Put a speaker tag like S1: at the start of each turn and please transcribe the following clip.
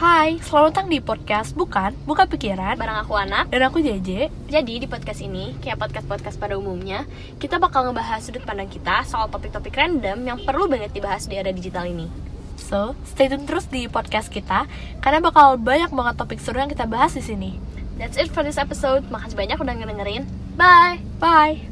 S1: Hai, selamat datang di podcast Bukan, Buka Pikiran
S2: Barang aku anak.
S1: Dan aku JJ
S2: Jadi di podcast ini, kayak podcast-podcast pada umumnya, kita bakal ngebahas sudut pandang kita soal topik-topik random yang perlu banget dibahas di era digital ini.
S1: So, stay tune terus di podcast kita Karena bakal banyak banget topik seru yang kita bahas di sini
S2: That's it for this episode. Makasih banyak udah ngedengerin. Bye.
S1: Bye